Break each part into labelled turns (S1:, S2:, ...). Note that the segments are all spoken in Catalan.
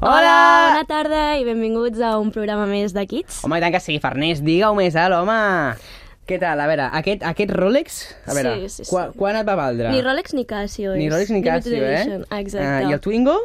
S1: Hola!
S2: Bona tarda i benvinguts a un programa més de Kids.
S1: Home, i tant que sí, Farners, digue-ho més alt, home! Què tal? A veure, aquest, aquest Rolex, a veure,
S2: Sí, sí, sí.
S1: Quan, quan et va valdre?
S2: Ni Rolex ni Casio.
S1: ni
S2: és
S1: Rolex ni
S2: limited
S1: Casio, eh?
S2: edition, Exacte.
S1: Ah, I el Twingo?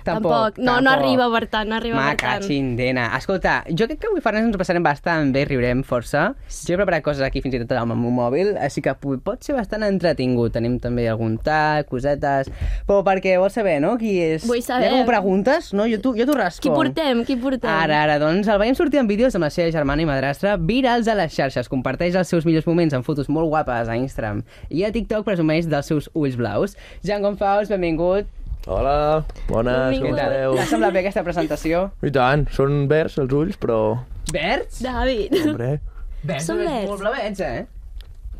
S1: Tampoc.
S2: No, no arriba per tant, no arriba
S1: Ma,
S2: per tant.
S1: cachindena. Escolta, jo crec que avui, Farners, ens ho passarem bastant bé, riurem força. Jo he preparat coses aquí fins i tot amb el meu mòbil, així que pu- pot ser bastant entretingut. Tenim també algun tall, cosetes... Però perquè vols saber, no?, qui és...
S2: Vull saber.
S1: Ja que m'ho preguntes, no? Jo t'ho jo t'ho rasco.
S2: Qui portem? Qui portem?
S1: Ara, ara, doncs el veiem sortir en vídeos amb la seva germana i madrastra virals a les xarxes. Comparteix els seus millors moments amb fotos molt guapes a Instagram i a TikTok presumeix dels seus ulls blaus. Jan Gonfaus, benvingut.
S3: Hola,
S1: Què
S3: bones, com
S2: Benvingut.
S1: tal?
S3: esteu?
S1: T'ha semblat bé aquesta presentació?
S3: I tant, són verds els ulls, però...
S1: Verds?
S2: David.
S3: Hombre,
S1: Verds,
S2: Són verds.
S1: Molt blavets, eh?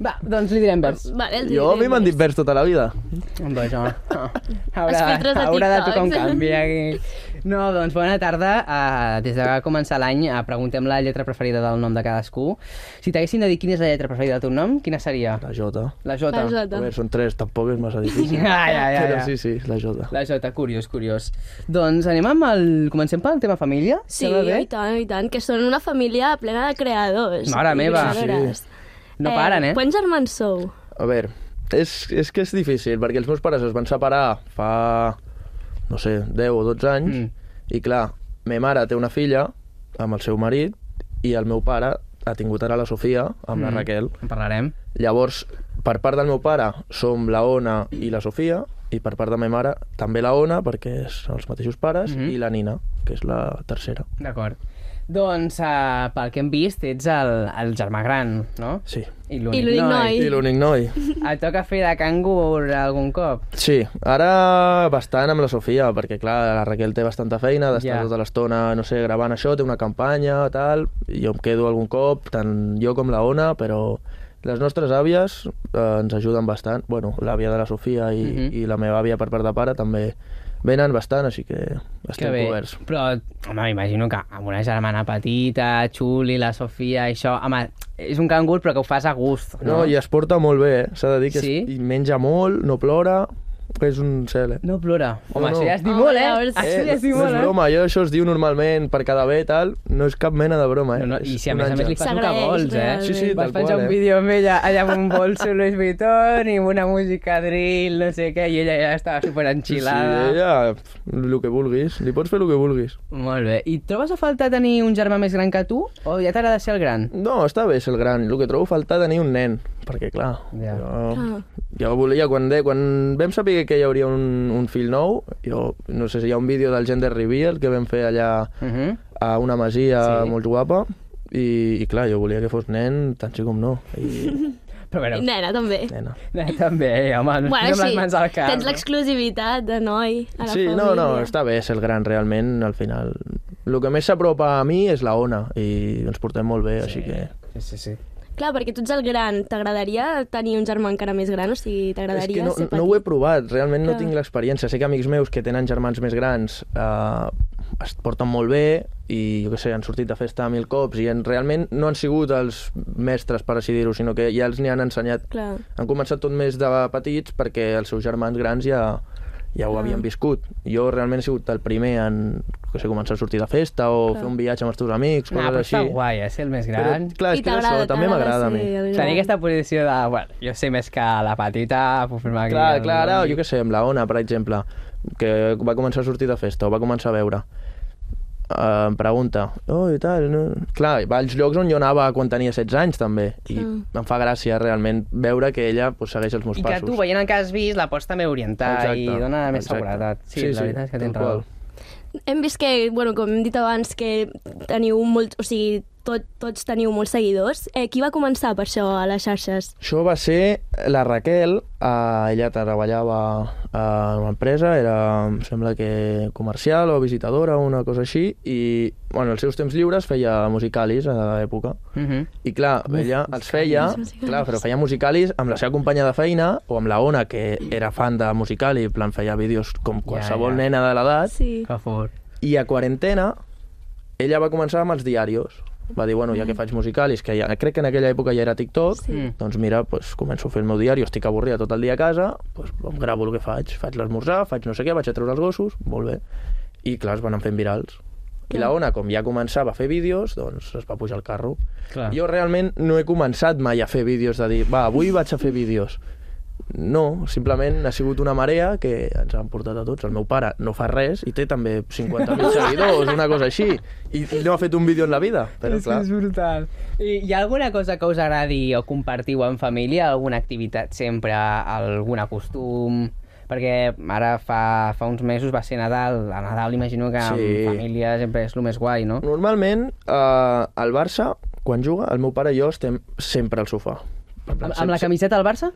S1: Va, doncs li direm verds.
S2: Vale, el
S3: jo a mi m'han dit verds tota la vida.
S1: Doncs jo.
S2: Els
S1: Haurà,
S2: filtres de
S1: haurà de tocar un
S2: TikToks.
S1: canvi aquí. No, doncs bona tarda. Uh, des de que va començar l'any uh, preguntem la lletra preferida del nom de cadascú. Si t'haguessin de dir quina és la lletra preferida del teu nom, quina seria?
S3: La Jota.
S1: La J.
S2: La J.
S3: A veure, són tres, tampoc és massa difícil.
S1: Ai, ai, ai,
S3: Però
S1: ai.
S3: sí, sí, la Jota.
S1: La J, curiós, curiós. Doncs anem amb el... Comencem pel tema família?
S2: Sí,
S1: Sembla bé?
S2: i tant, i tant, que són una família plena de creadors.
S1: Mare
S2: i
S1: meva.
S2: creadores.
S1: No paren, eh?
S2: Quants germans sou?
S3: A veure, és, és que és difícil, perquè els meus pares es van separar fa, no sé, 10 o 12 anys,
S1: Mm.
S3: mm. i clar, me mare té una filla amb el seu marit, i el meu pare ha tingut ara la Sofia amb mm. la Raquel.
S1: En parlarem.
S3: Llavors, per part del meu pare som la Ona i la Sofia, i per part de la meva mare també la Ona, perquè són els mateixos pares,
S1: Mhm.
S3: i la Nina, que és la tercera.
S1: D'acord. Doncs, uh, pel que hem vist, ets el, el germà gran, no?
S3: Sí.
S1: I
S2: I l'únic
S3: I,
S2: noi.
S3: I l'únic noi.
S1: Et toca fer de cangur algun cop?
S3: Sí, ara bastant amb la Sofia, perquè clar, la Raquel té bastanta feina d'estar
S1: Ja.
S3: tota l'estona, no sé, gravant això, té una campanya, tal, i jo em quedo algun cop, tant jo com la Ona, però les nostres àvies eh, ens ajuden bastant, bueno, l'àvia de la Sofia i,
S1: Mhm.
S3: i la meva àvia per part de pare també venen bastant, així que estem coberts.
S1: Però, home, imagino que amb una germana petita, xuli, la Sofia, això... Home, és un cangur, però que ho fas a gust,
S3: No,
S1: no?
S3: i es porta molt bé, eh? s'ha de dir que
S1: Sí?
S3: es, i menja molt, no plora, és un cel, eh?
S1: No plora. Home,
S3: No, no.
S1: això ja es diu
S2: Home,
S1: molt, eh?
S2: llavors-
S1: Això ja es diu
S3: no
S1: molt,
S3: és
S1: eh?
S3: broma, jo això es diu normalment per cada bé, tal, no és cap mena de broma,
S1: No,
S3: eh?
S1: no, I
S3: És
S1: si a
S3: un
S1: més a més
S3: àngel.
S1: li fas el que
S2: S'agraeix,
S1: vols, eh?
S2: realment. Sí, sí,
S1: Vas
S3: tal
S1: penjar
S3: qual,
S1: un
S3: eh?
S1: vídeo amb ella allà amb un bolso Louis Vuitton i amb una música drill, no sé què, i ella ja estava super enxilada.
S3: Sí, ella, el que vulguis. Li pots fer el que vulguis.
S1: Molt bé. I trobes a faltar tenir un germà més gran que tu? O ja t'agrada ser el gran?
S3: No, està bé ser el gran. El que trobo faltar tenir un nen, perquè clar,
S1: Ja.
S3: jo, jo volia, quan, de, quan vam saber que hi hauria un, un fill nou, jo no sé si hi ha un vídeo del Gender Reveal que vam fer allà
S1: Uh -huh.
S3: a una masia
S1: Sí.
S3: sí. molt guapa, i, i clar, jo volia que fos nen, tant sí com no. I,
S1: Però
S2: I
S1: bueno,
S2: nena, també.
S3: nena.
S1: també, eh, home, no bueno, amb les mans al cap.
S2: tens l'exclusivitat de noi a la
S3: Sí,
S2: família.
S3: no, no, està bé ser el gran realment, al final. El que més s'apropa a mi és la Ona, i ens portem molt bé, sí. així que...
S1: Sí, sí, sí.
S2: Clar, perquè tu ets el gran. T'agradaria tenir un germà encara més gran? O sigui, t'agradaria
S3: És que
S2: ser
S3: no,
S2: petit?
S3: no ho he provat, realment no
S2: Clar.
S3: tinc l'experiència. Sé que amics meus que tenen germans més grans eh, es porten molt bé i, jo què sé, han sortit de festa mil cops i en, realment no han sigut els mestres, per així dir-ho, sinó que ja els n'hi han ensenyat.
S2: Clar.
S3: Han començat tot més de petits perquè els seus germans grans ja, ja ho
S1: Ah.
S3: havien viscut. Jo realment he sigut el primer en jo què sé, començar a sortir de festa o fer un viatge amb els teus amics,
S1: Ah,
S3: coses
S1: però està
S3: així.
S1: guai, eh, ser el més
S3: Però,
S1: gran.
S3: clar,
S2: I
S3: és que és això,
S2: t'agrada,
S3: també
S2: t'agrada
S3: m'agrada a mi.
S2: ser el gran.
S1: Tenir aquesta posició de, bueno, jo sé més que la petita, puc firmar aquí...
S3: Clar,
S1: el-
S3: clar, ara, jo què sé, amb la Ona, per exemple, que va començar a sortir de festa, o va començar a veure, eh, em pregunta, oh, i tal, no... Clar, va als llocs on jo anava quan tenia 16 anys, també, i em fa gràcia realment veure que ella pues, segueix els meus
S1: Ah. I que
S3: passos.
S1: tu, veient el que has vist, la pots també orientar i dona més seguretat. Sí, la veritat és que tens
S3: tal
S1: raó.
S3: qual.
S2: Hem vist que, bueno, com hem dit abans, que teniu molt... O sigui, tot, tots teniu molts seguidors. Eh, qui va començar per això a les xarxes?
S3: Això va ser la Raquel, eh, ella treballava a una empresa, era, em sembla que comercial o visitadora o una cosa així, i bueno, els seus temps lliures feia musicalis a l'època.
S1: Mhm.
S3: I clar, ella els feia,
S2: musicalis.
S3: clar, però feia musicalis amb la seva companya de feina o amb la Ona, que era fan de musical i en plan feia vídeos com qualsevol
S1: ja.
S3: nena de l'edat.
S2: Sí.
S1: Que fort.
S3: I a quarantena, ella va començar amb els diaris. Va dir, bueno, ja que faig musicalis, que ja, crec que en aquella època ja era TikTok,
S1: Sí.
S3: doncs mira, pues, començo a fer el meu diari, estic avorrida tot el dia a casa, pues, em gravo el que faig, faig l'esmorzar, faig no sé què, vaig a treure els gossos, molt bé. I clar, es van fent virals. I la Ona, com ja començava a fer vídeos, doncs es va pujar al carro.
S1: Clar.
S3: Jo realment no he començat mai a fer vídeos de dir, va, avui vaig a fer vídeos. No, simplement ha sigut una marea que ens han portat a tots. El meu pare no fa res i té també 50.000 seguidors, una cosa així. I no ha fet un vídeo en la vida. Però
S1: és, que
S3: clar,
S1: és brutal. I, hi ha alguna cosa que us agradi o compartiu en família? Alguna activitat sempre? Algun acostum? Perquè ara fa, fa uns mesos va ser Nadal. A Nadal imagino que sí.
S3: Sí.
S1: en família sempre és el més guai, no?
S3: normalment eh, el Barça, quan juga, el meu pare i jo estem sempre al sofà. En
S1: Amb,
S3: plan,
S1: amb la
S3: sempre-
S1: camiseta del Barça?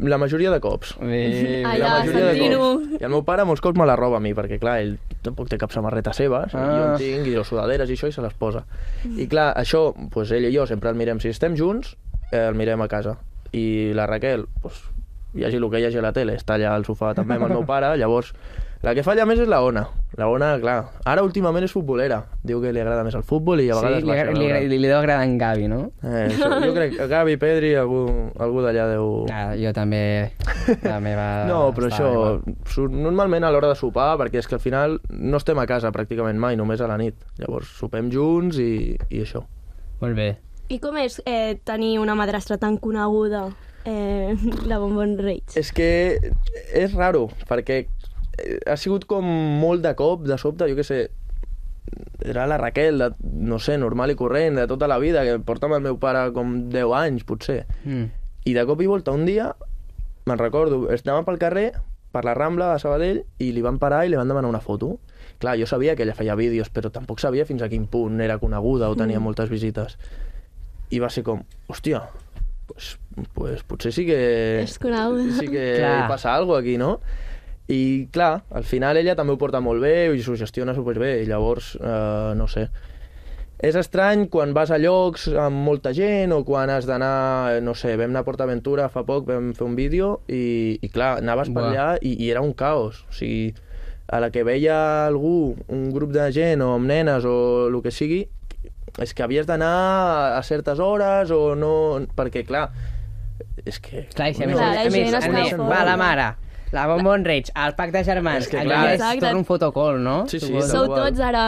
S3: La majoria de cops.
S1: Bé,
S2: Ai,
S3: la
S2: ja,
S3: majoria de
S2: Santino.
S3: cops. I el meu pare molts cops me la roba a mi, perquè clar, ell tampoc té cap samarreta seva, ah.
S1: Ah.
S3: jo en tinc, i les sudaderes i això, i se les posa. I clar, això, doncs ell i jo sempre el mirem, si estem junts, eh, el mirem a casa. I la Raquel, doncs, hi hagi el que hi hagi a la tele, està allà al sofà també amb el meu pare, llavors... La que falla més és la Ona. La Ona, clar, ara últimament és futbolera. Diu que li agrada més el futbol i a vegades...
S1: Sí, li, agra-
S3: baixa a
S1: li,
S3: veure.
S1: agra- li, li deu agradar en Gavi, no?
S3: Eh, això, jo crec que Gavi, Pedri, algú, algú d'allà deu...
S1: Ah, jo també... La meva...
S3: No, però
S1: estava
S3: això,
S1: igual.
S3: su- normalment a l'hora de sopar, perquè és que al final no estem a casa pràcticament mai, només a la nit. Llavors sopem junts i, i això.
S1: Molt bé.
S2: I com és eh, tenir una madrastra tan coneguda, eh, la Bonbon Reig?
S3: És que és raro, perquè eh, ha sigut com molt de cop, de sobte, jo que sé, era la Raquel, de, no sé, normal i corrent, de tota la vida, que porta amb el meu pare com 10 anys, potser.
S1: Mm.
S3: I de cop i volta, un dia, me'n recordo, estàvem pel carrer, per la Rambla de Sabadell, i li van parar i li van demanar una foto. Clar, jo sabia que ella feia vídeos, però tampoc sabia fins a quin punt era coneguda o tenia
S2: Mm.
S3: moltes visites. I va ser com, hòstia, pues, pues, potser sí que...
S2: És coneguda.
S3: Sí que
S1: Clar.
S3: hi passa alguna aquí, no? I clar, al final ella també ho porta molt bé i s'ho gestiona superbé, i llavors, eh, no sé, és estrany quan vas a llocs amb molta gent o quan has d'anar, no sé, vam anar a PortAventura fa poc, vam fer un vídeo i, i clar, anaves per
S1: Buah.
S3: allà i, i era un caos. O sigui, a la que veia algú, un grup de gent o amb nenes o el que sigui, és que havies d'anar a certes hores o no... Perquè, clar, és que...
S1: Clar, i si a
S3: Bueno,
S1: més,
S2: Clar,
S1: a
S2: la
S1: més,
S2: gent
S1: a
S2: està
S1: més,
S2: fora.
S1: va la mare, la Bonbon Reig, el pacte de germans,
S3: És que
S1: que,
S3: clar,
S1: allà és
S2: Exacte.
S1: torna un fotocol, no?
S3: Sí,
S1: Tu
S3: sí,
S1: vols-
S3: és
S2: Sou
S3: igual.
S2: tots ara...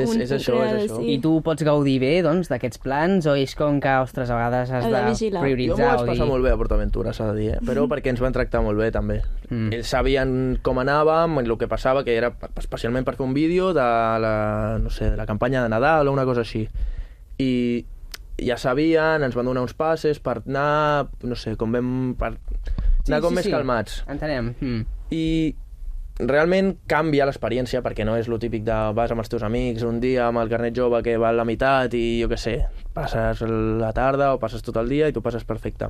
S3: És-
S2: un-
S3: és això, és això.
S1: I tu pots gaudir bé, doncs, d'aquests plans, o és com que, ostres, a vegades has
S2: Heu de
S1: de
S2: vigilar.
S1: prioritzar? o
S3: Jo m'ho vaig
S1: dir- Mm-hmm.
S3: passar molt bé a PortAventura, s'ha de dir, eh? però perquè ens van tractar molt bé, també.
S1: Mm.
S3: Mm. Ells sabien com anàvem, el que passava, que era especialment per fer un vídeo de la, no sé, de la campanya de Nadal o una cosa així. I ja sabien, ens van donar uns passes per anar, no sé, com vam... Per anar com més calmats.
S1: Entenem. Mm.
S3: I realment canvia l'experiència perquè no és lo típic de vas amb els teus amics un dia amb el carnet jove que va a la meitat i jo que sé, passes la tarda o passes tot el dia i tu passes perfecte.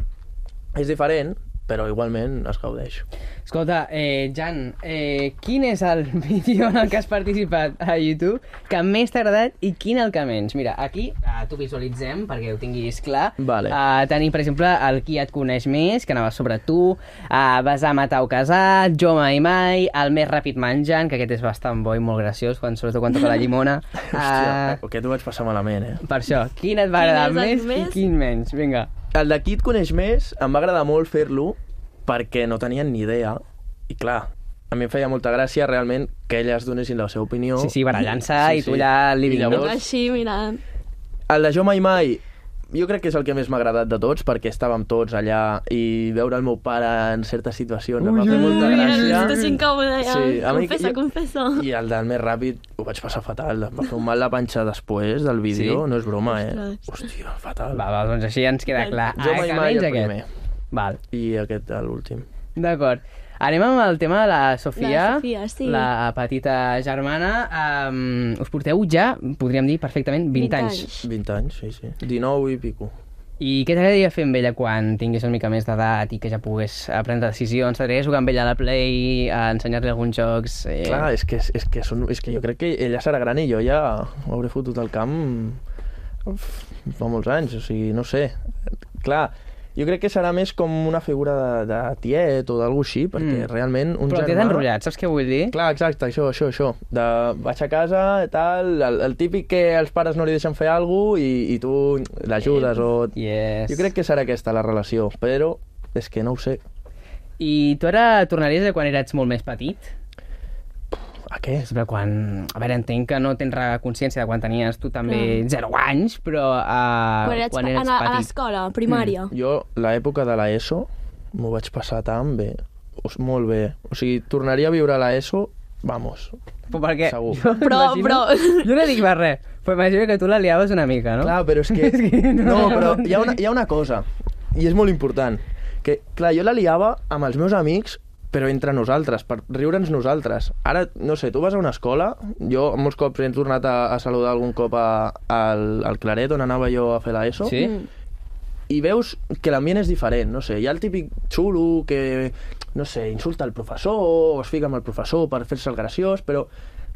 S3: És diferent, però igualment es gaudeix.
S1: Escolta, eh, Jan, eh, quin és el vídeo en el que has participat a YouTube que més t'ha agradat i quin el que menys? Mira, aquí eh, t'ho visualitzem perquè ho tinguis clar.
S3: Vale.
S1: Eh, tenim, per exemple, el Qui et coneix més, que anava sobre tu, eh, Vas a matar o casat, Jo mai mai, El més ràpid menjant, que aquest és bastant bo i molt graciós, quan, sobretot quan toca la llimona.
S3: Ah. Hòstia,
S1: Eh,
S3: aquest ho vaig passar malament, eh?
S1: per això, quin et va agradar
S2: és el
S1: més,
S2: més?
S1: i quin menys? Vinga.
S3: El de qui et coneix més em va agradar molt fer-lo perquè no tenien ni idea i clar, a mi em feia molta gràcia realment que elles donessin la seva opinió.
S1: Sí, sí, barallant-se i tu allà living,
S3: I
S1: no?
S3: llavors,
S2: Així, mirant.
S3: El de Jo mai mai, jo crec que és el que més m'ha agradat de tots, perquè estàvem tots allà i veure el meu pare en certes situacions em va fer molta
S2: Ui,
S3: gràcia.
S2: Estàs incòmode, eh, ja.
S3: Sí, a mi-
S2: confessa,
S3: jo-
S2: confessa.
S3: I el del més ràpid ho vaig passar fatal, em va fer un mal la panxa després del vídeo,
S1: Sí?
S3: no és broma, eh? Hòstia, fatal.
S1: Va, va, doncs així ens queda clar.
S3: Jo
S1: Ah,
S3: mai
S1: que
S3: mai
S1: menys
S3: el
S1: aquest.
S3: primer.
S1: Val.
S3: I aquest l'últim.
S1: D'acord. Anem amb el tema de la Sofia,
S2: La Sofia, sí.
S1: la petita germana. Um, us porteu ja, podríem dir perfectament, 20,
S2: 20
S1: anys.
S2: anys.
S3: 20 anys, sí, sí. 19 i pico.
S1: I què t'agradaria fer amb ella quan tinguis una mica més d'edat i que ja pogués eh, prendre decisions? T'agradaria jugar amb ella a la Play, a ensenyar-li alguns jocs? Eh?
S3: Clar, és que, és, que són, és que jo crec que ella serà gran i jo ja hauré fotut el camp uf, fa molts anys, o sigui, no sé. Clar, jo crec que serà més com una figura de, de tiet o d'algú així, perquè
S1: Mm.
S3: mm. realment un
S1: Però té
S3: germà...
S1: enrotllat, eh? saps què vull dir?
S3: Clar, exacte, això, això, això. De, vaig a casa, tal, el, el típic que els pares no li deixen fer alguna cosa i, i tu l'ajudes o...
S1: Eh, Yes.
S3: Jo crec que serà aquesta la relació, però és que no ho sé.
S1: I tu ara tornaries a quan eres molt més petit?
S3: A què?
S1: Sempre quan... A veure, entenc que no tens re- consciència de quan tenies tu també 0 anys, però uh,
S2: quan eres,
S1: quan eres
S2: a, la- a
S1: petit.
S2: l'escola, primària. Mm.
S3: Jo, l'època de l'ESO, m'ho vaig passar tan bé. Os, molt bé. O sigui, tornaria a viure a l'ESO, vamos.
S1: Però perquè
S3: Segur.
S1: Jo
S2: Però-
S1: m'imagino-
S2: però-
S1: Jo no dic més res, però imagino que tu la liaves una mica, no?
S3: Clar, però és que...
S1: És que no.
S3: no. però hi ha, una, hi ha una cosa, i és molt important, que, clar, jo la liava amb els meus amics, però entre nosaltres, per riure'ns nosaltres. Ara, no sé, tu vas a una escola, jo molts cops he tornat a, a saludar algun cop a, al, al Claret, on anava jo a fer l'ESO,
S1: Sí?
S2: Mm.
S3: i veus que l'ambient és diferent, no sé, hi ha el típic xulo que, no sé, insulta el professor o es fica amb el professor per fer-se el graciós, però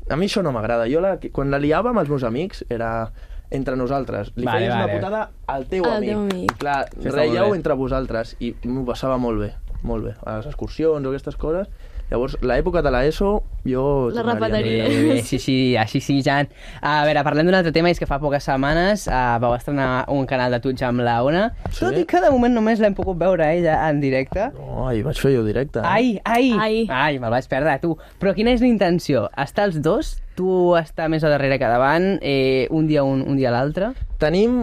S3: a mi això no m'agrada. Jo la, quan la liava amb els meus amics era entre nosaltres. Li
S1: Vale,
S3: vale, feies
S1: vale.
S3: vale. una putada al teu
S2: Al
S3: amic.
S2: teu amic.
S3: Clar,
S1: Això està molt
S3: reieu
S1: bé.
S3: entre vosaltres i m'ho passava molt bé, molt bé. A les excursions o aquestes coses. Llavors, l'època de l'ESO, jo...
S2: La
S1: Bé,
S3: tornaria
S2: repetiria.
S3: enrere.
S1: bé, bé, sí, sí, així sí, Jan. A veure, parlem d'un altre tema, és que fa poques setmanes uh, vau estrenar un canal de Twitch amb la Ona,
S3: Sí. Ah.
S1: tot i que de moment només l'hem pogut veure ella en directe.
S3: No, ai, vaig fer jo directe. eh?
S1: Ai, ai, ai,
S2: Ai.
S1: ai me'l vaig perdre, tu. Però quina és la intenció? Estar els dos? Tu estar més a darrere que davant? Eh, un dia un, un dia l'altre?
S3: tenim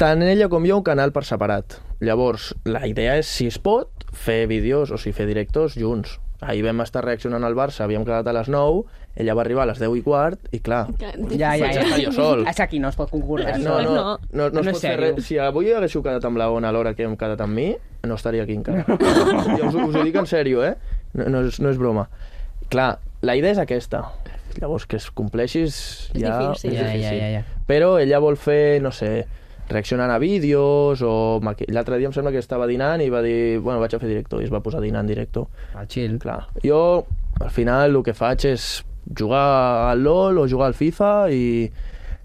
S3: tant ella com jo un canal per separat. Llavors, la idea és, si es pot, fer vídeos o si fer directos junts. Ahir vam estar reaccionant al Barça, havíem quedat a les 9, ella va arribar a les 10 i quart, i clar...
S1: Ja, ja,
S3: Vaig
S1: ja.
S3: estar jo sol.
S1: És aquí, no es pot concordar. eh?
S3: No, no, no, no,
S1: No
S3: no,
S1: és
S3: es pot fer
S1: sèrio.
S3: res. Si avui haguéssiu quedat amb la Ona a l'hora que hem quedat amb mi, no estaria aquí encara. jo us, us ho dic en sèrio, eh? No, no, és, no és broma. Clar, la idea és aquesta. Llavors, que es compleixis
S2: És
S3: ja...
S2: difícil.
S3: és
S1: Ja, ja,
S3: difícil.
S1: ja, ja.
S3: Però ella vol fer, no sé, reaccionant a vídeos o... maqui- L'altre dia em sembla que estava dinant i va dir... Bueno, vaig a fer directo i es va posar a dinar en directo.
S1: Al chill.
S3: Clar, jo al final el que faig és jugar al LOL o jugar al FIFA i,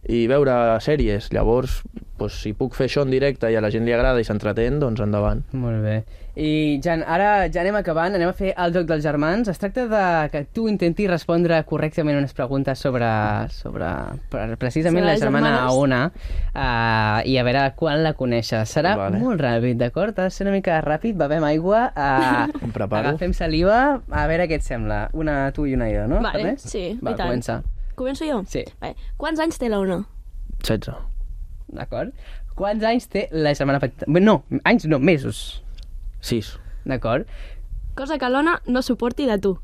S3: i veure sèries. Llavors, doncs, si puc fer això en directe i a la gent li agrada i s'entretén, doncs endavant.
S1: Molt bé. I, Jan, ara ja anem acabant, anem a fer el joc dels germans. Es tracta de que tu intentis respondre correctament unes preguntes sobre, sobre per- precisament
S2: Sobre
S1: la
S2: les
S1: germana
S2: germanes.
S1: Ona uh, i a veure quan la coneixes. Serà
S3: Vale.
S1: molt ràpid, d'acord? Ha de ser una mica ràpid, bevem aigua, uh,
S3: Em preparo.
S1: agafem saliva, a veure què et sembla. Una tu i una jo, no?
S2: Vale,
S1: Ernest?
S2: sí,
S1: Va,
S2: i tant.
S1: comença.
S2: Començo jo?
S1: Sí.
S2: Vale. Quants anys té la Ona?
S3: 16.
S1: D'acord. Quants anys té la germana petita? Bé, No, anys no, mesos.
S3: 6.
S1: D'acord.
S2: Cosa que l'Ona no suporti de tu.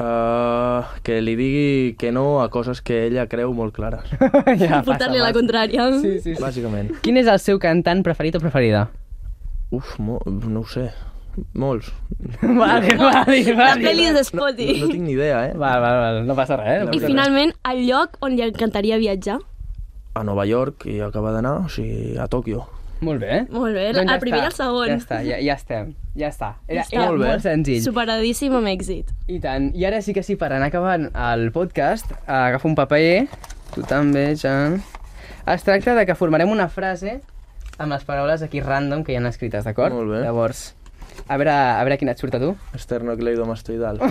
S1: Ah,
S3: Uh, que li digui que no a coses que ella creu molt clares,
S1: ja,
S2: Portar-li a la
S1: passa.
S2: contrària.
S1: Sí, sí, sí.
S3: bàsicament.
S1: Quin és el seu cantant preferit o preferida?
S3: Uf, mo no ho sé. Molts.
S1: vale, vale,
S2: Les pel·lis de
S3: No,
S2: Spotty.
S3: no tinc ni idea, eh?
S1: Val, val, val, no passa res. eh? No
S2: I
S1: passa
S2: finalment, el lloc on li encantaria viatjar.
S3: A Nova York i acaba d'anar, o sigui, a Tòquio.
S1: res. Molt bé.
S2: Molt bé, el primer i el segon.
S1: Doncs Ja està, ja, ja estem. Ja està. Era,
S2: està.
S1: era
S3: Molt
S1: molt,
S3: bé.
S1: senzill.
S2: Superadíssim amb èxit.
S1: I tant. I ara sí que sí, per anar acabant el podcast, eh, agafo un paper, tu també, Jan. Es tracta de que formarem una frase amb les paraules aquí random que hi han escrites, d'acord?
S3: Molt bé.
S1: Llavors, a veure, a veure quina et surt a tu.
S3: Esternocleidomastoidal.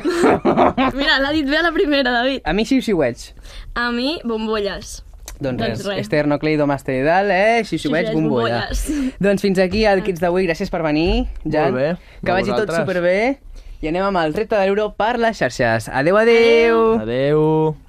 S2: Mira, l'ha dit bé a la primera, David.
S1: A mi xiu-xiuets.
S2: A mi, bombolles.
S1: Doncs res,
S2: Doncs res.
S1: esternocleidomastoidal, eh? Xiu-xiuets,
S2: Xiu-xiuets,
S1: bombolles.
S2: bombolles.
S1: Doncs fins aquí el Kids d'avui, gràcies per venir, Jan.
S3: Molt bé.
S1: Que
S3: A
S1: vagi tot
S3: vosaltres.
S1: superbé. I anem amb el repte de l'euro per les xarxes. Adeu, adeu. adeu.
S3: Adeu.